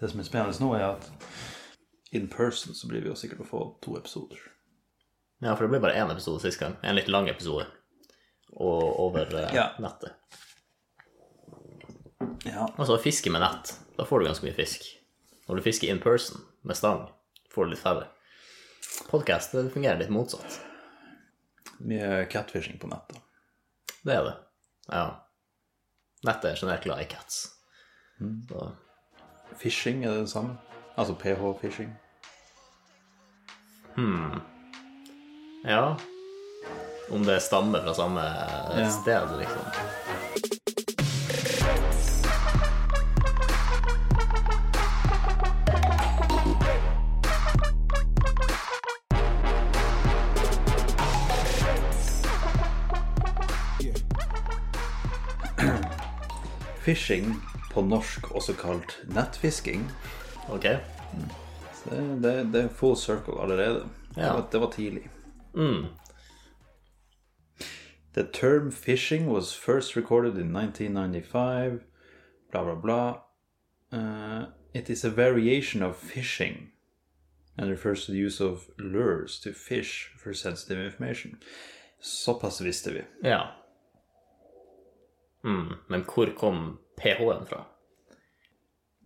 Det som er spennende nå, er at in person så blir vi jo sikkert å få to episoder. Ja, for det ble bare én episode sist gang. En litt lang episode. Og over eh, Ja. nettet. Ja. Og så fiske med nett. Da får du ganske mye fisk. Når du fisker in person med stang, får du litt færre. Podkast fungerer litt motsatt. Mye catfishing på nettet. Det er det. Ja. Nettet er generelt glad i cats. Mm. Så Fishing er det det samme? Altså ph-fishing? ja Om det stammer fra samme eh, Ja. sted, liksom. Fishing, på norsk også kalt nettfisking, Ok? så det, det, det er full circle allerede. Det, Ja. var, det var tidlig. Mm. The term fishing was first recorded in 1995, blah blah blah. Uh, it is a variation of fishing and refers to the use of lures to fish for sensitive information. Såpass visste vi. Ja. Mm. Men hvor kom ph-en fra?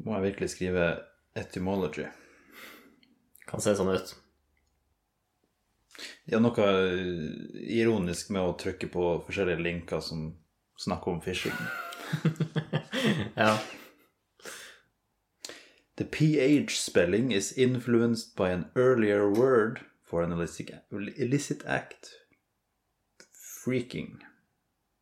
Må jeg virkelig skrive etymology? Kan se sånn ut. Det er noe eh, ironisk med å trykke på forskjellige linker som snakker om fishing. Ja. The pH spelling is influenced by an earlier word for an illicit, illicit act. Freaking.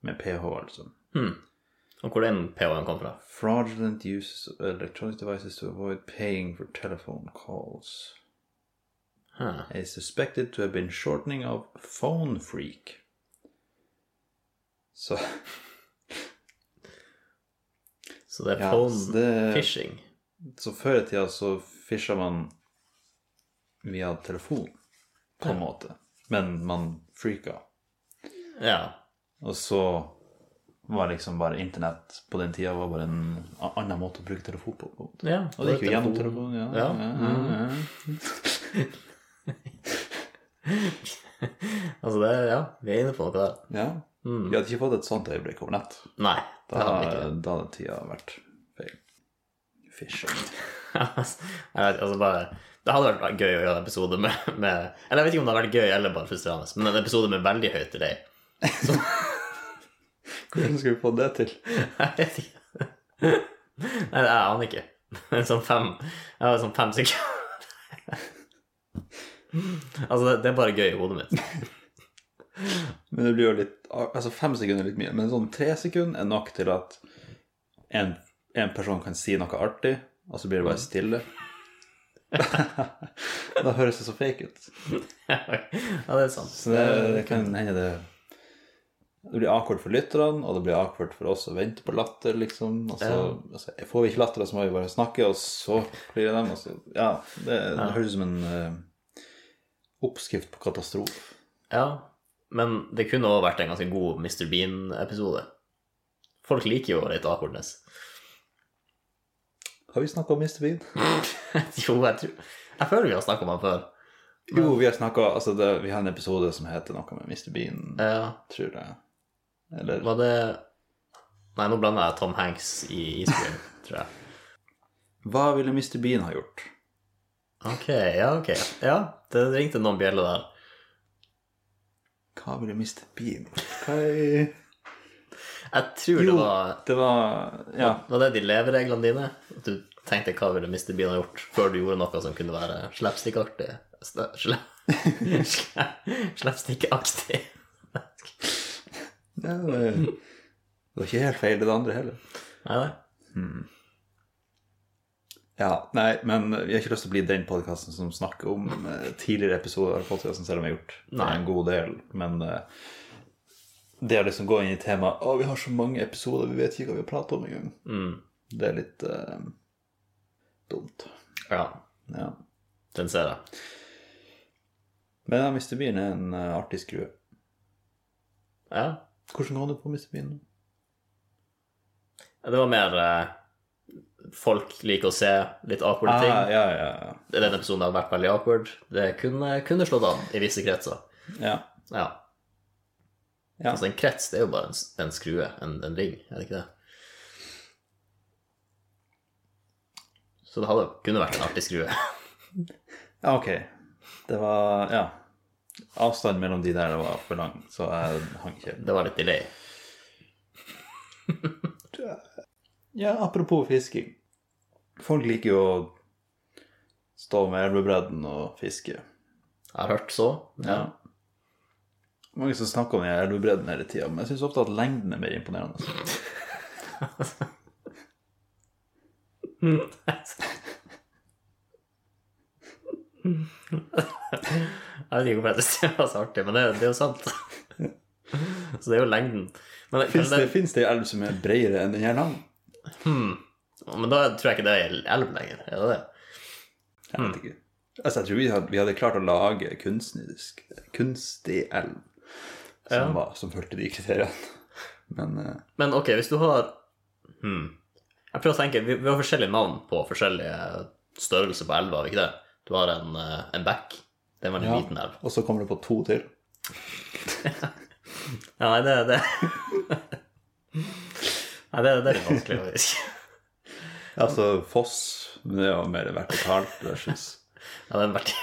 Med ph, altså. Og hvor den ph-en kom fra? Fraudulent uses of electronic devices to avoid paying for telephone calls. Huh. It is suspected to have been shortening of phone freak. Så Så det er Ja, så phone det- fishing. Så før i tida så fisha man via telefon, på en måte. Men man freaka. Ja. Og så var liksom bare internett på den tida var bare en a- annen måte å bruke telefon på. på en måte. ja. Og det gikk jo gjennom telefonen. Ja, ja. Ja. ja, ja. Altså, det, ja, vi er inne på noe der. ja. Vi hadde ikke fått et sånt øyeblikk over nett. Nei, det Da, har vi ikke. da hadde tida vært feil. Fishing. Jeg vet, altså bare, det hadde vært gøy å gjøre en episode med, med Eller jeg vet ikke om det hadde vært gøy eller bare frustrerende, men en episode med veldig høyt delay. Hvordan skal vi få det til? Jeg vet ikke. Nei, jeg aner ikke. Men Sånn fem Jeg var sånn fem sekunder. Altså, det, det er bare gøy i hodet mitt. Men det blir jo litt Altså fem sekunder er litt mye, men sånn tre sekunder er nok til at en, en person kan si noe artig, og så blir det bare stille. da høres det så fake ut. Ja, det er sant. Så det, det kan hende det Det blir awkward for lytterne, og det blir awkward for oss å vente på latter, liksom. Og så, altså, får vi ikke latter, så må vi bare snakke, og så blir det dem. Og så, ja, det, det høres ut som en eh, oppskrift på katastrofe. Ja, men det kunne også vært en ganske god Mr. Bean-episode. Folk liker jo litt awkwardness. Har vi snakka om Mr. Bean? jo, jeg tror Jeg føler vi har snakket om han før. Jo, vi har snakka altså det- Vi har en episode som heter noe med Mr. Bean, Ja, tror jeg. Eller var det Nei, nå blander jeg Tom Hanks i East Cream, tror jeg. Hva ville Mr. Bean ha gjort? Ok, ja, ok. Ja, det ringte noen bjeller der. Hva ville Mr. Bean Hva er Jeg tror det Jo. var Det var Ja. Var det de levereglene dine? At Du tenkte hva ville Mr. Bean ha gjort før du gjorde noe som kunne være slapstickaktig? Sla- sla- sla- Slapstickaktig. Ja, Det det var ikke helt feil, det andre heller. Nei, nei. Ja, nei, men vi har ikke lyst til å bli den podkasten som snakker om eh, tidligere episoder av podkasten, selv om jeg har gjort det Nei. en god del. Men eh, det å liksom gå inn i temaet 'Å, vi har så mange episoder, vi vet ikke hva vi har pratet om engang', Mm. det er litt eh, dumt. Ja, Ja. den ser jeg. Men ja, Mr. Bean er en eh, artig skrue. Ja. Hvordan går det på Mr. Bean? nå? Det var mer eh, folk liker å se litt awkward Ah, ting. ja, ja, Denne episoden har vært veldig awkward. Det kunne, kunne slått an i visse kretser. ja. ja. Ja. Ja. Altså, en krets det er jo bare en, s- en skrue, en, en ring, er det ikke det? Så det hadde kunne vært en artig skrue. Ja, ok. Det var Ja. Avstanden mellom de der var for lang, så jeg hang ikke. Det var litt delay. Ja, apropos fisking. Folk liker jo å stå med elvebredden og fiske. Jeg har hørt så. Ja. Mange som snakker om den elvebredden hele tida, men jeg syns ofte at lengden er mer imponerende. jeg vet ikke hvorfor jeg synes det var så artig, men det, det er jo sant. Så det er jo lengden. Men, Fins men, det, finnes det en elv som er bredere enn den her lang? men da tror jeg ikke det er elv lenger. Er det det? Jeg Mm. vet ikke. Altså, jeg tror vi hadde, vi hadde klart å lage kunstnerisk, kunstig elv som, Ja. var, som fulgte de kriteriene. Men eh, Men ok, hvis du har hmm. Jeg prøver å tenke, vi, vi har forskjellige navn på forskjellige størrelser på elva, har vi ikke det? Du har en, eh, en bekk. Det er en veldig Ja. liten elv. Og så kommer det på to til. Ja, nei, det, det. Nei, det, det er litt vanskelig, faktisk. Altså foss, men det er jo mer vertikalt versus Ja, det er en, verti...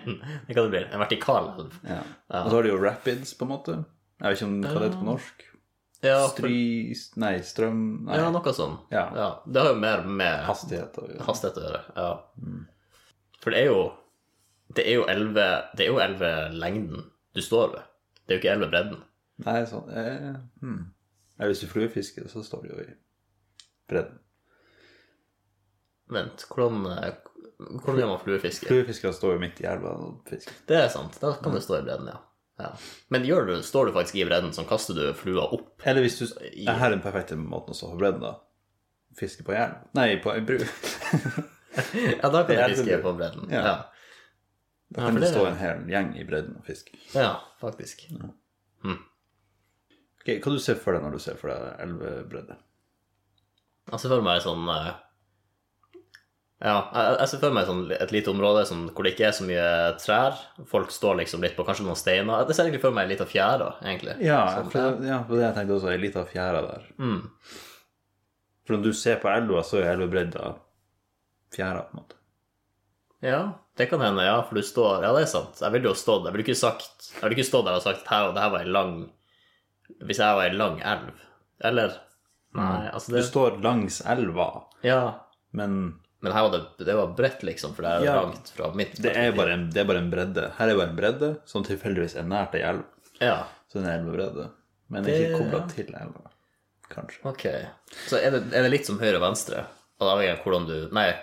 det kan det bli. en vertikal elv. ja. Og så har de jo rapids, på en måte. Jeg vet ikke om hva det heter på norsk. Ja, for... Stry... Nei, strøm Nei, ja noe sånn. Ja. Det har jo mer med hastighet og hastighet å gjøre. Ja. Mm. For det er jo det er jo elve, det er jo elve lengden du står ved. Det er jo ikke elve bredden. Nei, sånn eh, hmm. Nei, Hvis du fluefisker, så står det jo i bredden. Vent, hvordan, eh, hvordan gjør man fluefiske? Fluefiskere står jo midt i elva og fisker. Det er sant, da kan du stå i bredden, ja. ja. Men gjør du, står du faktisk i bredden, sånn kaster du flua opp. Eller hvis du ja, Her er den perfekte måten å stå på bredden, da. Fiske på jern. Nei, på ei bru. Ja, da kan Det er du fiske elvebru. på bredden. Ja. Ja, Da Ja, kan for det det- stå en hel gjeng i bredden og fiske. ja faktisk. Ok, Hva du ser for deg når du ser for deg elvebredde? Jeg ser for meg sånn eh, Ja, jeg jeg ser for meg sånn, et lite område som, hvor det ikke er så mye trær. Folk står liksom litt på kanskje noen steiner. Jeg ser egentlig for meg ei lita fjære, egentlig. Ja, Sånn, for det, ja, for det jeg tenkte også, ei lita fjære der. Mm. For når du ser på elva, så er elvebredda fjæra, på en måte. ja, det kan hende, ja, for du står Ja, det er sant. Jeg ville jo stått Jeg ville ikke sagt Jeg ville ikke stått der og sagt her, det her var ei lang Hvis jeg var ei lang elv. Eller Nei, altså Mm. Du det står langs elva, Ja. men Men her var det Det var bredt, liksom, for det er Ja. langt fra mitt det er bare en, det er bare en bredde. Her er bare en bredde som tilfeldigvis er nært ei elv. Ja. Så den er en elvebredde, men Det- ikke kobla til elva, kanskje. Ok. Så er det, er det litt som høyre og venstre? Og avhengig av hvordan du Nei,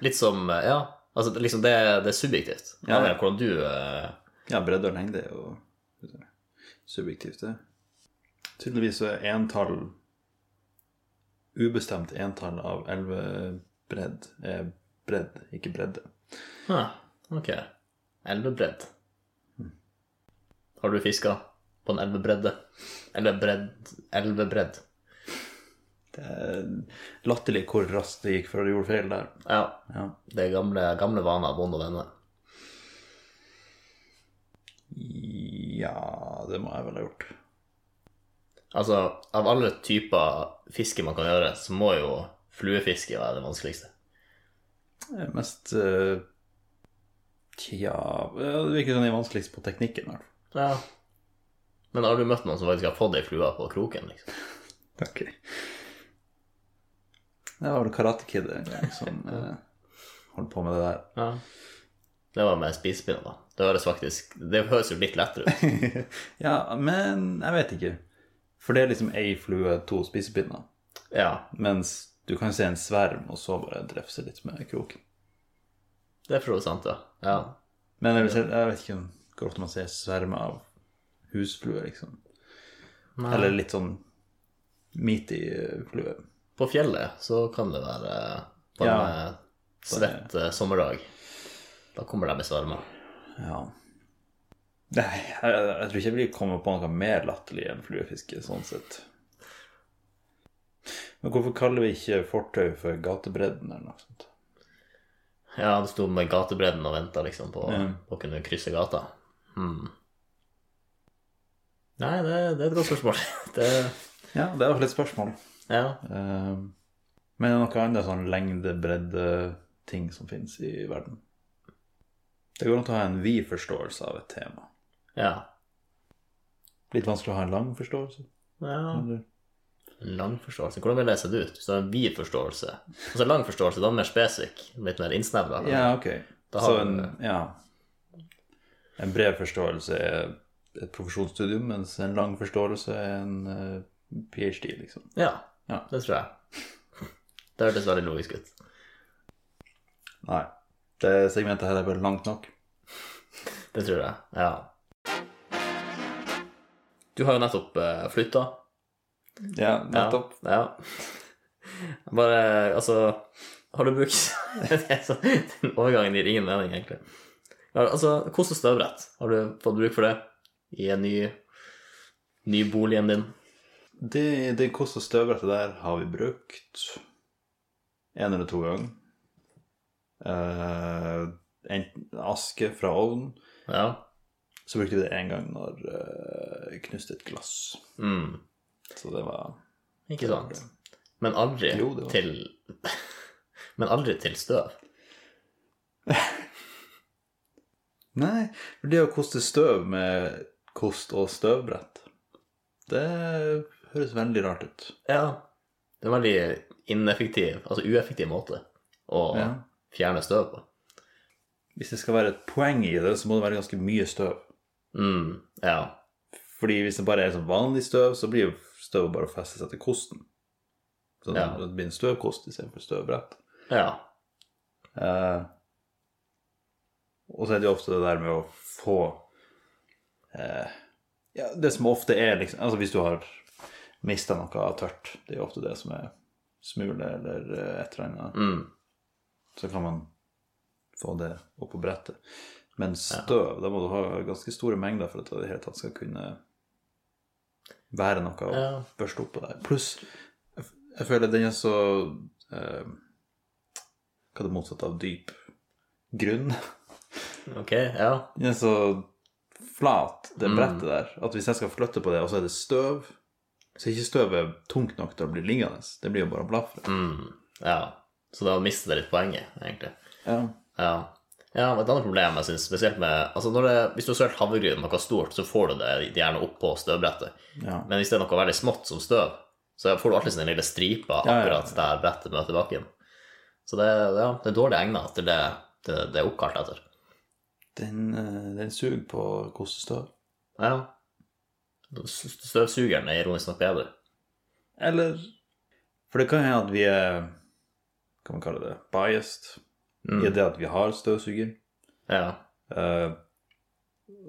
litt som eh, Ja. Altså det- liksom det, det er subjektivt. Ja. Avhengig av hvordan du eh, Ja, bredde og lengde er jo subjektivt, det. Tydeligvis så er entall Ubestemt entall av elvebredd er bredd, ikke bredde. ja, Ok. Elvebredd. Har du fiska på en elvebredde? Eller bredd Elvebredd. Det er latterlig hvor raskt det gikk før du gjorde feil der. Ja. Ja. Det er gamle, gamle vaner, vond og vende. ja, det må jeg vel ha gjort. Altså, av alle typer fiske man kan gjøre, så må jo fluefiske være det vanskeligste. Det er Mest eh, Tja ja, Det virker som det er vanskeligst på teknikken. i hvert fall. Ja. Men har du møtt noen som faktisk har fått ei flue på kroken, liksom? Ok. Det var vel Karate Kid en gang som eh, holdt på med det der. Ja. Det var med spisepinner, da. Det høres faktisk Det høres jo litt lettere ut. Ja, men jeg vet ikke. For det er liksom ei flue, to spisepinner. Ja. Mens du kan se en sverm, og så bare drefse litt med kroken. Det er for så vidt sant, ja. ja. Men jeg, vil si- jeg vet ikke om- hvor ofte man ser svermer av husfluer, liksom. Eller litt sånn midt i eh, flue. På fjellet så kan det være på en Ja. eh, svett eh, sommerdag. Da kommer de i svermer. Ja. Nei, jeg, jeg tror ikke jeg vil komme på noe mer latterlig enn fluefiske, sånn sett. Men hvorfor kaller vi ikke fortau for gatebredden eller noe sånt? Ja, det sto med gatebredden og venta liksom på Ja. på å kunne krysse gata. Hmm. Nei, det, det er et godt spørsmål. Det, Ja, det er iallfall et spørsmål. ja. Eh, men er det noe annet sånn lengde-bredde-ting som finnes i verden? Det går an å ha en vid forståelse av et tema. ja. Litt vanskelig å ha en lang forståelse. Ja. Eller? Lang forståelse. Hvordan vil jeg lese det ut? Hvis du har en vid forståelse Altså lang forståelse, da er den mer spesifikk. Litt mer innsnevra. Ja, ok. Da Så har en, vi- ja. en bred forståelse er et profesjonsstudium, mens en lang forståelse er en eh, PhD, liksom. ja. Ja. Det tror jeg. Det hørtes veldig logisk ut. Nei. Det segmentet her er bare langt nok. Det tror jeg. Ja. Du har jo nettopp eh, flytta. Ja, nettopp. Ja. ja. Bare Altså, har du brukt det er så- Den overgangen gir ingen mening, egentlig. Ja, altså, kos og støvbrett. Har du fått bruk for det i en ny, ny boligen din? Det, det kost- og støvbrettet der har vi brukt én eller to ganger. Eh, enten aske fra ovnen, Ja. så brukte vi det én gang når eh, knuste et glass. Mm. Så det var Ikke sant. Men aldri Jo, det var- til Men aldri til støv. Nei, for det å koste støv med kost- og støvbrett, det høres veldig rart ut. Ja. Det er en veldig ineffektiv, altså ueffektiv måte å Ja. fjerne støv på. Hvis det skal være et poeng i det, så må det være ganske mye støv. Mm, ja. Fordi hvis det bare er sånn vanlig støv, så blir jo støvet bare å feste seg til kosten. Så Ja. det blir en støvkost istedenfor støvbrett. Ja. Eh, og så er det jo ofte det der med å få eh, ja, Det som ofte er liksom Altså hvis du har mista noe tørt, det er jo ofte det som er smule eller eh, et eller annet, Mm, så kan man få det opp på brettet. Men støv, da må du ha ganske store mengder for at det i det hele tatt skal kunne være noe å Ja. børste opp på der. Pluss, jeg f- jeg føler den er så eh, Hva er det motsatte av dyp? Grunn. ok, ja. Den er så flat, det brettet der, at hvis jeg skal flytte på det, og så er det støv Så er ikke støvet tungt nok til å bli liggende. Det blir jo bare blafre. Mm, ja. Så da mister det litt poenget, egentlig. Ja. Ja. ja og et annet problem jeg synes, spesielt med altså når det, Hvis du har sølt havregryn med noe stort, så får du det gjerne opp på støvbrettet. ja. Men hvis det er noe veldig smått som støv, så får du alltid den lille Ja, stripa ja, ja. akkurat der brettet møter bakken. Så det, ja, det er dårlig egnet til det det, det er oppkalt etter. Den, eh, den suger på kostestøv. Ja. Støvsugeren er ironisk nok bedre. Eller For det kan hende at vi er hva kan man kalle det biased Mm. i det at vi har støvsuger. Ja. Eh,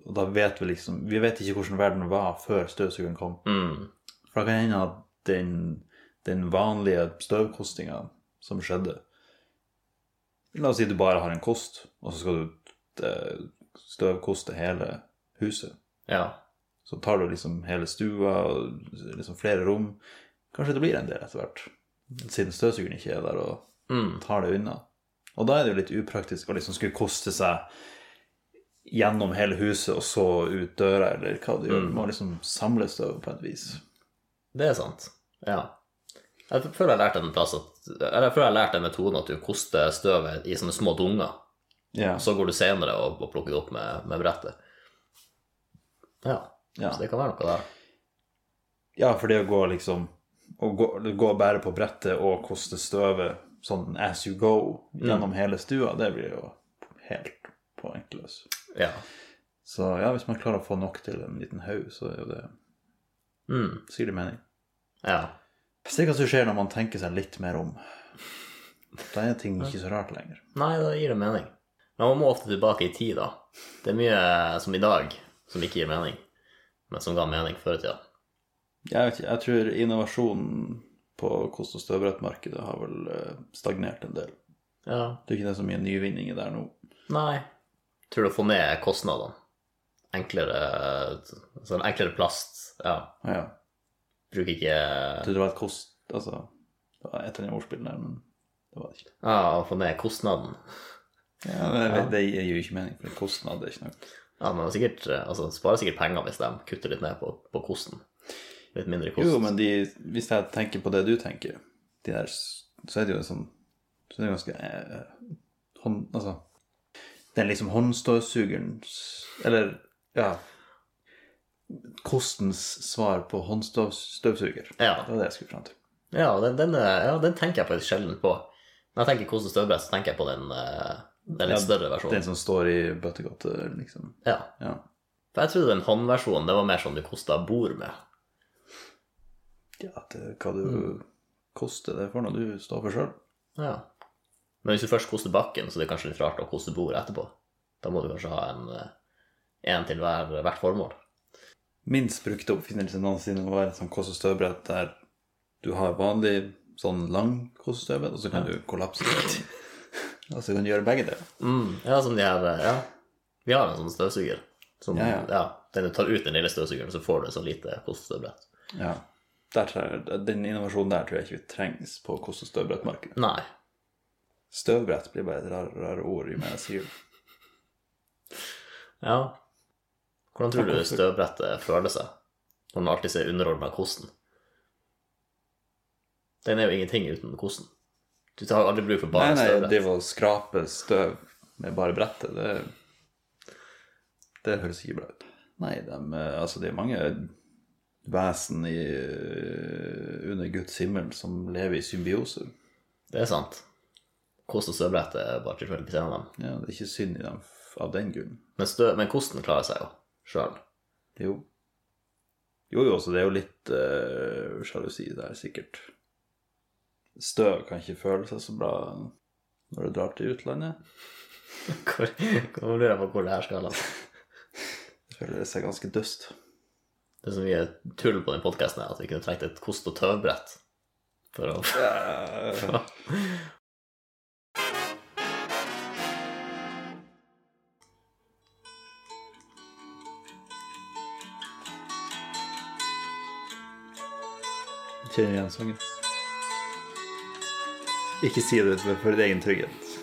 og da vet vi liksom Vi vet ikke hvordan verden var før støvsugeren kom. Mm. For da kan hende at den, den vanlige støvkostinga som skjedde La oss si du bare har en kost, og så skal du eh, støvkoste hele huset. ja. Så tar du liksom hele stua og liksom flere rom. Kanskje det blir en del etter hvert, siden støvsugeren ikke er der og Mm. tar det unna. Og da er det jo litt upraktisk å liksom skulle koste seg gjennom hele huset og så ut døra, eller hva du gjør. Du må liksom samle støv på et vis. Det er sant. Ja. Jeg føler jeg har lært en plass at, eller jeg føler jeg har lært en metode at du koster støvet i sånne små dunger, Ja. og så går du senere og, og plukker det opp med, med brettet. Ja. Ja. Så det kan være noe der. ja, for det å gå liksom Å gå, gå og bære på brettet og koste støvet sånn as you go gjennom hele stua, det blir jo helt poengløs. Ja. Så ja, hvis man klarer å få nok til en liten haug, så er jo det Mm. sikkert mening. Ja. Se hva som skjer når man tenker seg litt mer om. Da er ting ikke så rart lenger. Nei, da gir det mening. Men man må ofte tilbake i tid, da. Det er mye eh, som i dag som ikke gir mening, men som ga mening før i tida. Jeg vet ikke, jeg tror innovasjonen på kost- og støvbrettmarkedet har vel eh, stagnert en del. Ja. Det er ikke det så mye nyvinninger der nå. Nei. Tror du å få ned kostnadene? Enklere sånn enklere plast. Ja. Ah, ja. Bruker ikke Jeg trodde det var et kost... Altså, Det var et eller annet ordspill der, men det var det ikke. Ja, å få ned kostnaden. Ja, men det- Det gir jo ikke mening, for kostnad er ikke noe. Ja, men sikkert, eh, altså, sparer sikkert penger hvis de kutter litt ned på, på kosten. Litt mindre kost. Jo, men de, hvis jeg tenker på det du tenker, de der, s- så er det jo sånn Så er det ganske eh, hånd, Altså Den liksom håndstøvsugerens Eller ja Kostens svar på håndstøvsuger. Ja. Det var det jeg skulle fram til. Ja, den, den, eh, ja, den tenker jeg faktisk sjelden på. Når jeg tenker kost og støvbrett, så tenker jeg på den, eh, den litt Ja, større versjonen. Den som står i bøttegotte, liksom. Ja. Ja. For jeg trodde den håndversjonen, det var mer sånn du kosta bord med. ja at det, hva du koster, det får nå du stå for sjøl. Ja. Men hvis du først koster bakken, så er det kanskje litt rart å koste bord etterpå. Da må du kanskje ha en, eh, en til hver, hvert formål. minst brukte oppfinnelse noensinne å være sånn kost- og støvbrett der du har vanlig sånn lang kost- og støvbrett, og så kan du kollapse litt. og så kan du gjøre begge deler. Mm, ja, som de her eh, Ja. Vi har en sånn støvsuger. Som, Ja, ja, ja. den du tar ut den lille støvsugeren, så får du så lite kostestøvbrett. Ja. Der, tror jeg- den innovasjonen der tror jeg ikke vi trengs på kost- og støvbrettmarkedet. Nei. Støvbrett blir bare et rarere rar ord i meg jeg sier det. Ja. Hvordan tror Takk du også. støvbrettet føler seg når den alltid ser underordna kosten? Den er jo ingenting uten kosten. Du har aldri bruk for Nei, bare nei, støvbrett. det å skrape støv med bare brettet, det, det høres ikke bra ut. Nei, dem, eh, altså, det er mange vesen i, eh, under Guds himmel som lever i symbiose. Det er sant. Kost og støvbrett er bare tilfeldigvis en av dem. Ja, det er ikke synd i dem f- av den grunn. Men, støv, men kosten klarer seg jo sjøl. Det er jo Jo jo, så det er jo litt eh, sjalusi der, sikkert. Støv kan ikke føle seg så bra når du drar til utlandet. Hvor, hvor lurer jeg på hvor det her skal lande? Det føler seg ganske døst. Det er så mye tull på den podkasten at vi kunne trengt et kost- og tøvbrett for å Kjenner igjen sangen. Ikke si det for, for din egen trygghet.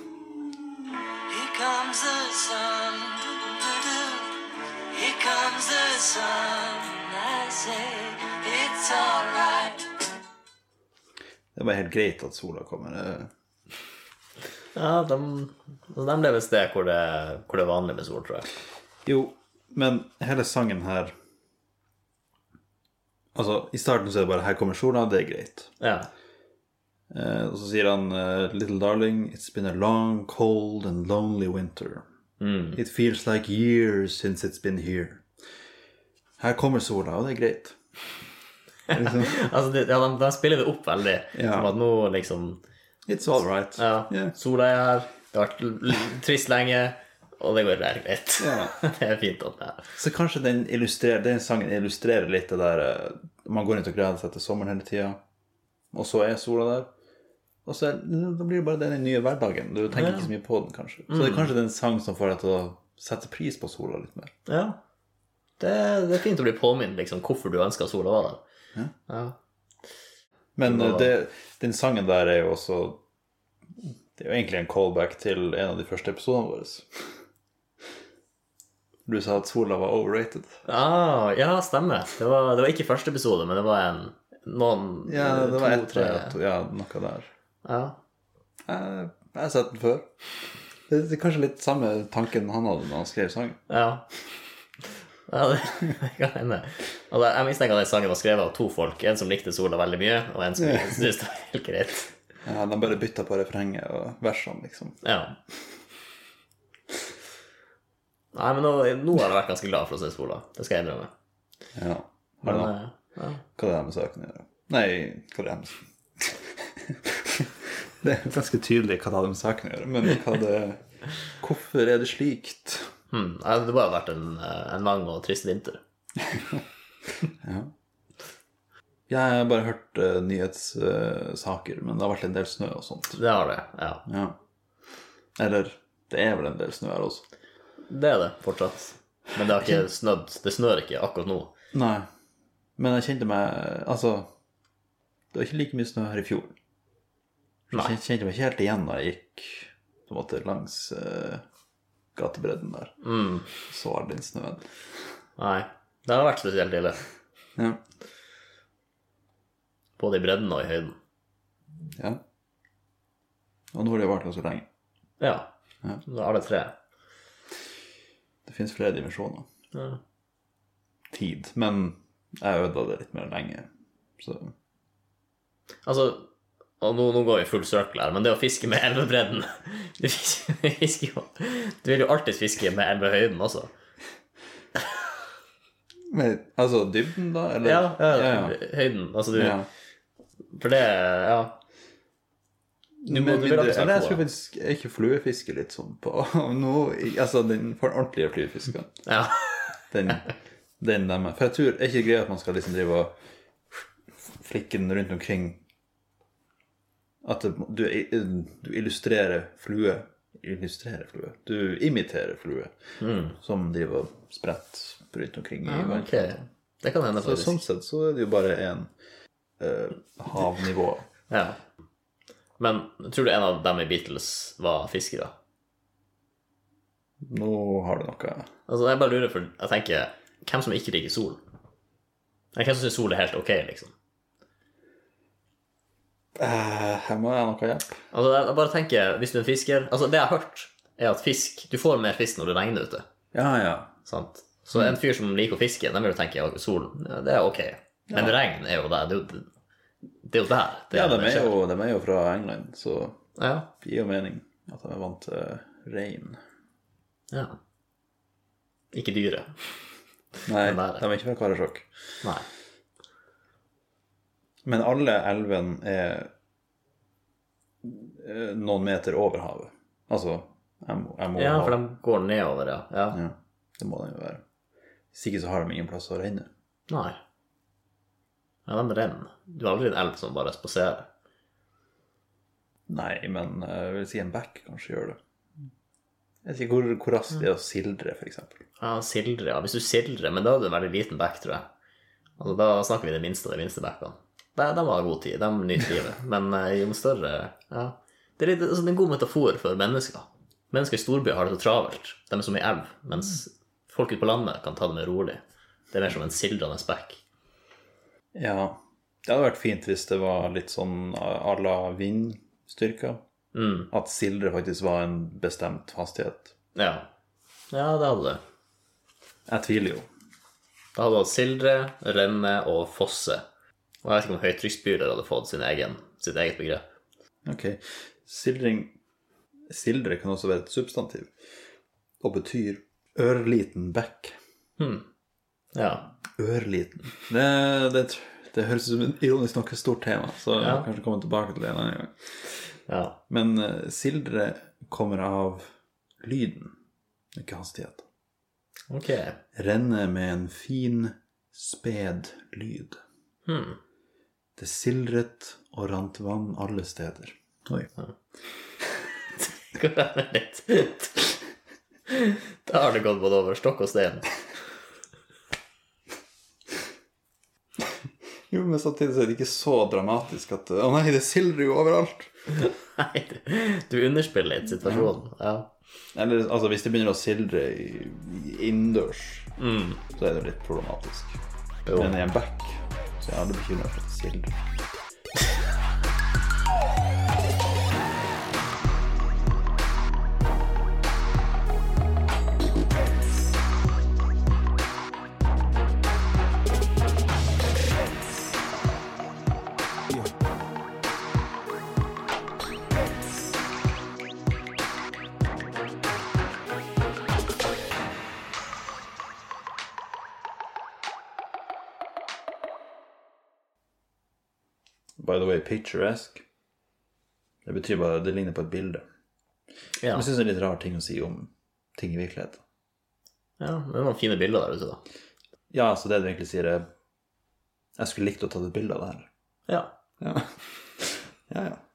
Here comes the sun. doo-doo-doo-doo. Here comes the sun. I say it's alright. Det er bare helt greit at sola kommer. det- Ja, de, altså, de lever et sted hvor det, hvor det er vanlig med sol, tror jeg. Jo, men hele sangen her Altså, i starten så er det bare 'Her kommer sola', det er greit. Ja. Eh, og så sier han eh, 'Little darling, it's been a long, cold and lonely winter'. It feels like years since it's been here. Her kommer sola, og det er greit. Liksom, Altså, de, ja, de, de spiller det opp veldig. Ja. Som at nå liksom It's all right. Ja, Yeah. sola er her, det har vært l- l- trist lenge, og det går helt greit. Ja. det er fint at det er Så kanskje den, illustrerer, den sangen illustrerer litt det der eh, Man går rundt og gleder seg til sommeren hele tida, og så er sola der. Og så er, da blir det bare den nye hverdagen. Du tenker ikke så mye på den, kanskje. Så det er kanskje den sang som får deg til å sette pris på sola litt mer. Ja. Det, det er fint å bli påminnet liksom, hvorfor du ønsker at sola var der. Ja. Men Det var- eh, det, den sangen der er jo også Det er jo egentlig en callback til en av de første episodene våre. Du sa at sola var overrated. Ah, ja, stemmer. Det var, det var ikke første episode, men det var en noen Ja, det var to, ett, tre. Eh, to- ja, noe der. Ja. Jeg, jeg har sett den før. Det er kanskje litt samme tanken han hadde når han skrev sangen. Ja. ja det kan hende. Altså, jeg mistenker at den sangen var skrevet av to folk. En som likte sola veldig mye, og en som syntes det var helt greit. Ja, de bare bytta på refrenget og versene, liksom. Ja. Nei, men nå, nå har jeg vært ganske glad for å se sola. Det skal jeg innrømme. Ja. Hva Men, er det eh, ja. hva er det her med saken å gjøre? Nei, hva er det her med saken Det er ganske tydelig hva det hadde med saken å gjøre, men hva det Hvorfor er det slikt? hmm. Nei, Det bare har vært en, eh, en lang og trist vinter. Jeg har bare hørt eh, nyhetssaker, men det har vært en del snø og sånt. Det har det. Ja. Ja. Eller det er vel en del snø her også. Det er det fortsatt. Men det har ikke snødd. Det snør ikke akkurat nå. Nei. Men jeg kjente meg Altså, det var ikke like mye snø her i fjor. Jeg kjen- kjente meg ikke helt igjen da jeg gikk på en måte langs eh, gatebredden der. Mm. Så all den snøen. Nei. Det har vært spesielt ille. Ja. Både i bredden og i høyden. ja. Og nå har det vart ganske lenge. Ja. Ja. Det er alle tre. Det fins flere dimensjoner. Ja. Tid. Men jeg ødela det litt mer lenge. Så Altså, og nå, nå går vi full circle her, men det å fiske med elvebredden Du fisker, du fisker jo Du vil jo alltid fiske med elvehøyden også. Men, Altså dybden, da? Eller? Ja, ja, ja. høyden. Altså, du ja. For det Ja. Du, må, Men du vil mindre- alltid eller jeg snakke tror om det. faktisk jeg ikke fluefisker litt sånn på nå, i- Altså den for den ordentlige fluefiskeren. Ja. Den, den der med For jeg tror er ikke greia at man skal liksom drive og flikke den rundt omkring At det, du, du illustrerer flue Illustrerer flue? Du imiterer flue som driver og spretter rundt omkring i Ja, vann. Hmm. Ok. Det kan hende, Ah, Så faktisk. sånn sett så er det jo bare en eh, havnivå. Ja. Men tror du en av dem i Beatles var fiskere? Nå har du noe Altså, jeg bare lurer, for jeg tenker Hvem som ikke liker sol? Nei, Hvem som syns sol er helt ok, liksom? Eh, Her må jeg ha noe hjelp. Altså, jeg jeg bare tenker, hvis du er en fisker Altså, det jeg har hørt, er at fisk Du får mer fisk når det regner ute, Ja, ja. sant? Så Mm. en fyr som liker å fiske, den vil jo tenke at sol, ja, det er ok. Men regn er jo der. Det er jo, det er jo der. det Ja, de det er, skjer. jo, de er jo fra England, så Ja. det gir jo mening at de er vant til regn. ja. Ikke dyret. Nei, Men det er det. de er ikke fra Karasjok. Nei. Men alle elvene er eh, noen meter over havet. Altså, jeg må, jeg må Ja, ha- for de går nedover, ja. ja. ja, Det må de jo være. Hvis ikke så har de ingen plass å renne. Nei. Ja, den renner. Du har aldri en elv som bare spaserer. Nei, men eh, jeg vil si en bekk kanskje gjør det. Jeg vet ikke hvor, hvor raskt det er å sildre, f.eks. Ja, sildre, ja. Hvis du sildrer, men da er det en veldig liten bekk, tror jeg. Altså, da snakker vi det minste av de minste bekkene. De, de har god tid, de nyter livet. Men eh, jo større ja. Det er litt, altså, det er en god metafor for mennesker. Mennesker i storbyer har det så travelt. De er som i elv. Mens folk ute på landet kan ta det mer rolig. Det er mer som en sildrende bekk. Ja. Det hadde vært fint hvis det var litt sånn à la vindstyrker. Mm, at sildre faktisk var en bestemt hastighet. ja. ja, det hadde det. Jeg tviler jo. Da hadde du hatt sildre, renne og fosse. Og jeg vet ikke om høytrykksspyler hadde fått sin egen, sitt eget begrep. Ok, Sildring Sildre kan også være et substantiv og betyr ørliten bekk. Ja. Ørliten. Det, det, tr- det høres ut som et ironisk nok stort tema, så jeg Ja. må kanskje komme tilbake til det en annen gang. ja. Men eh, sildre kommer av lyden, ikke hastighet. Ok. Renne med en fin, sped lyd. Hmm. Det sildret og rant vann alle steder. Oi. Går det ned litt? Da har det gått både over stokk og stein. Jo, men samtidig så er det ikke så dramatisk at Å nei, det sildrer jo overalt. Nei, du- du underspiller litt situasjonen. Ja. Eller altså, hvis det begynner å sildre i- i innendørs, så er det jo litt problematisk. Mm. Jo. Men i en bekk så er jeg aldri bekymret for at det sildrer. By the way, picturesque Det betyr bare Det ligner på et bilde. Ja. Jeg syns det er litt rar ting å si om ting i virkeligheten. ja. Det er noen fine bilder der ute, da. Ja, så det du egentlig sier, er Jeg skulle likt å ta et bilde av det her. Ja. Ja, ja. ja.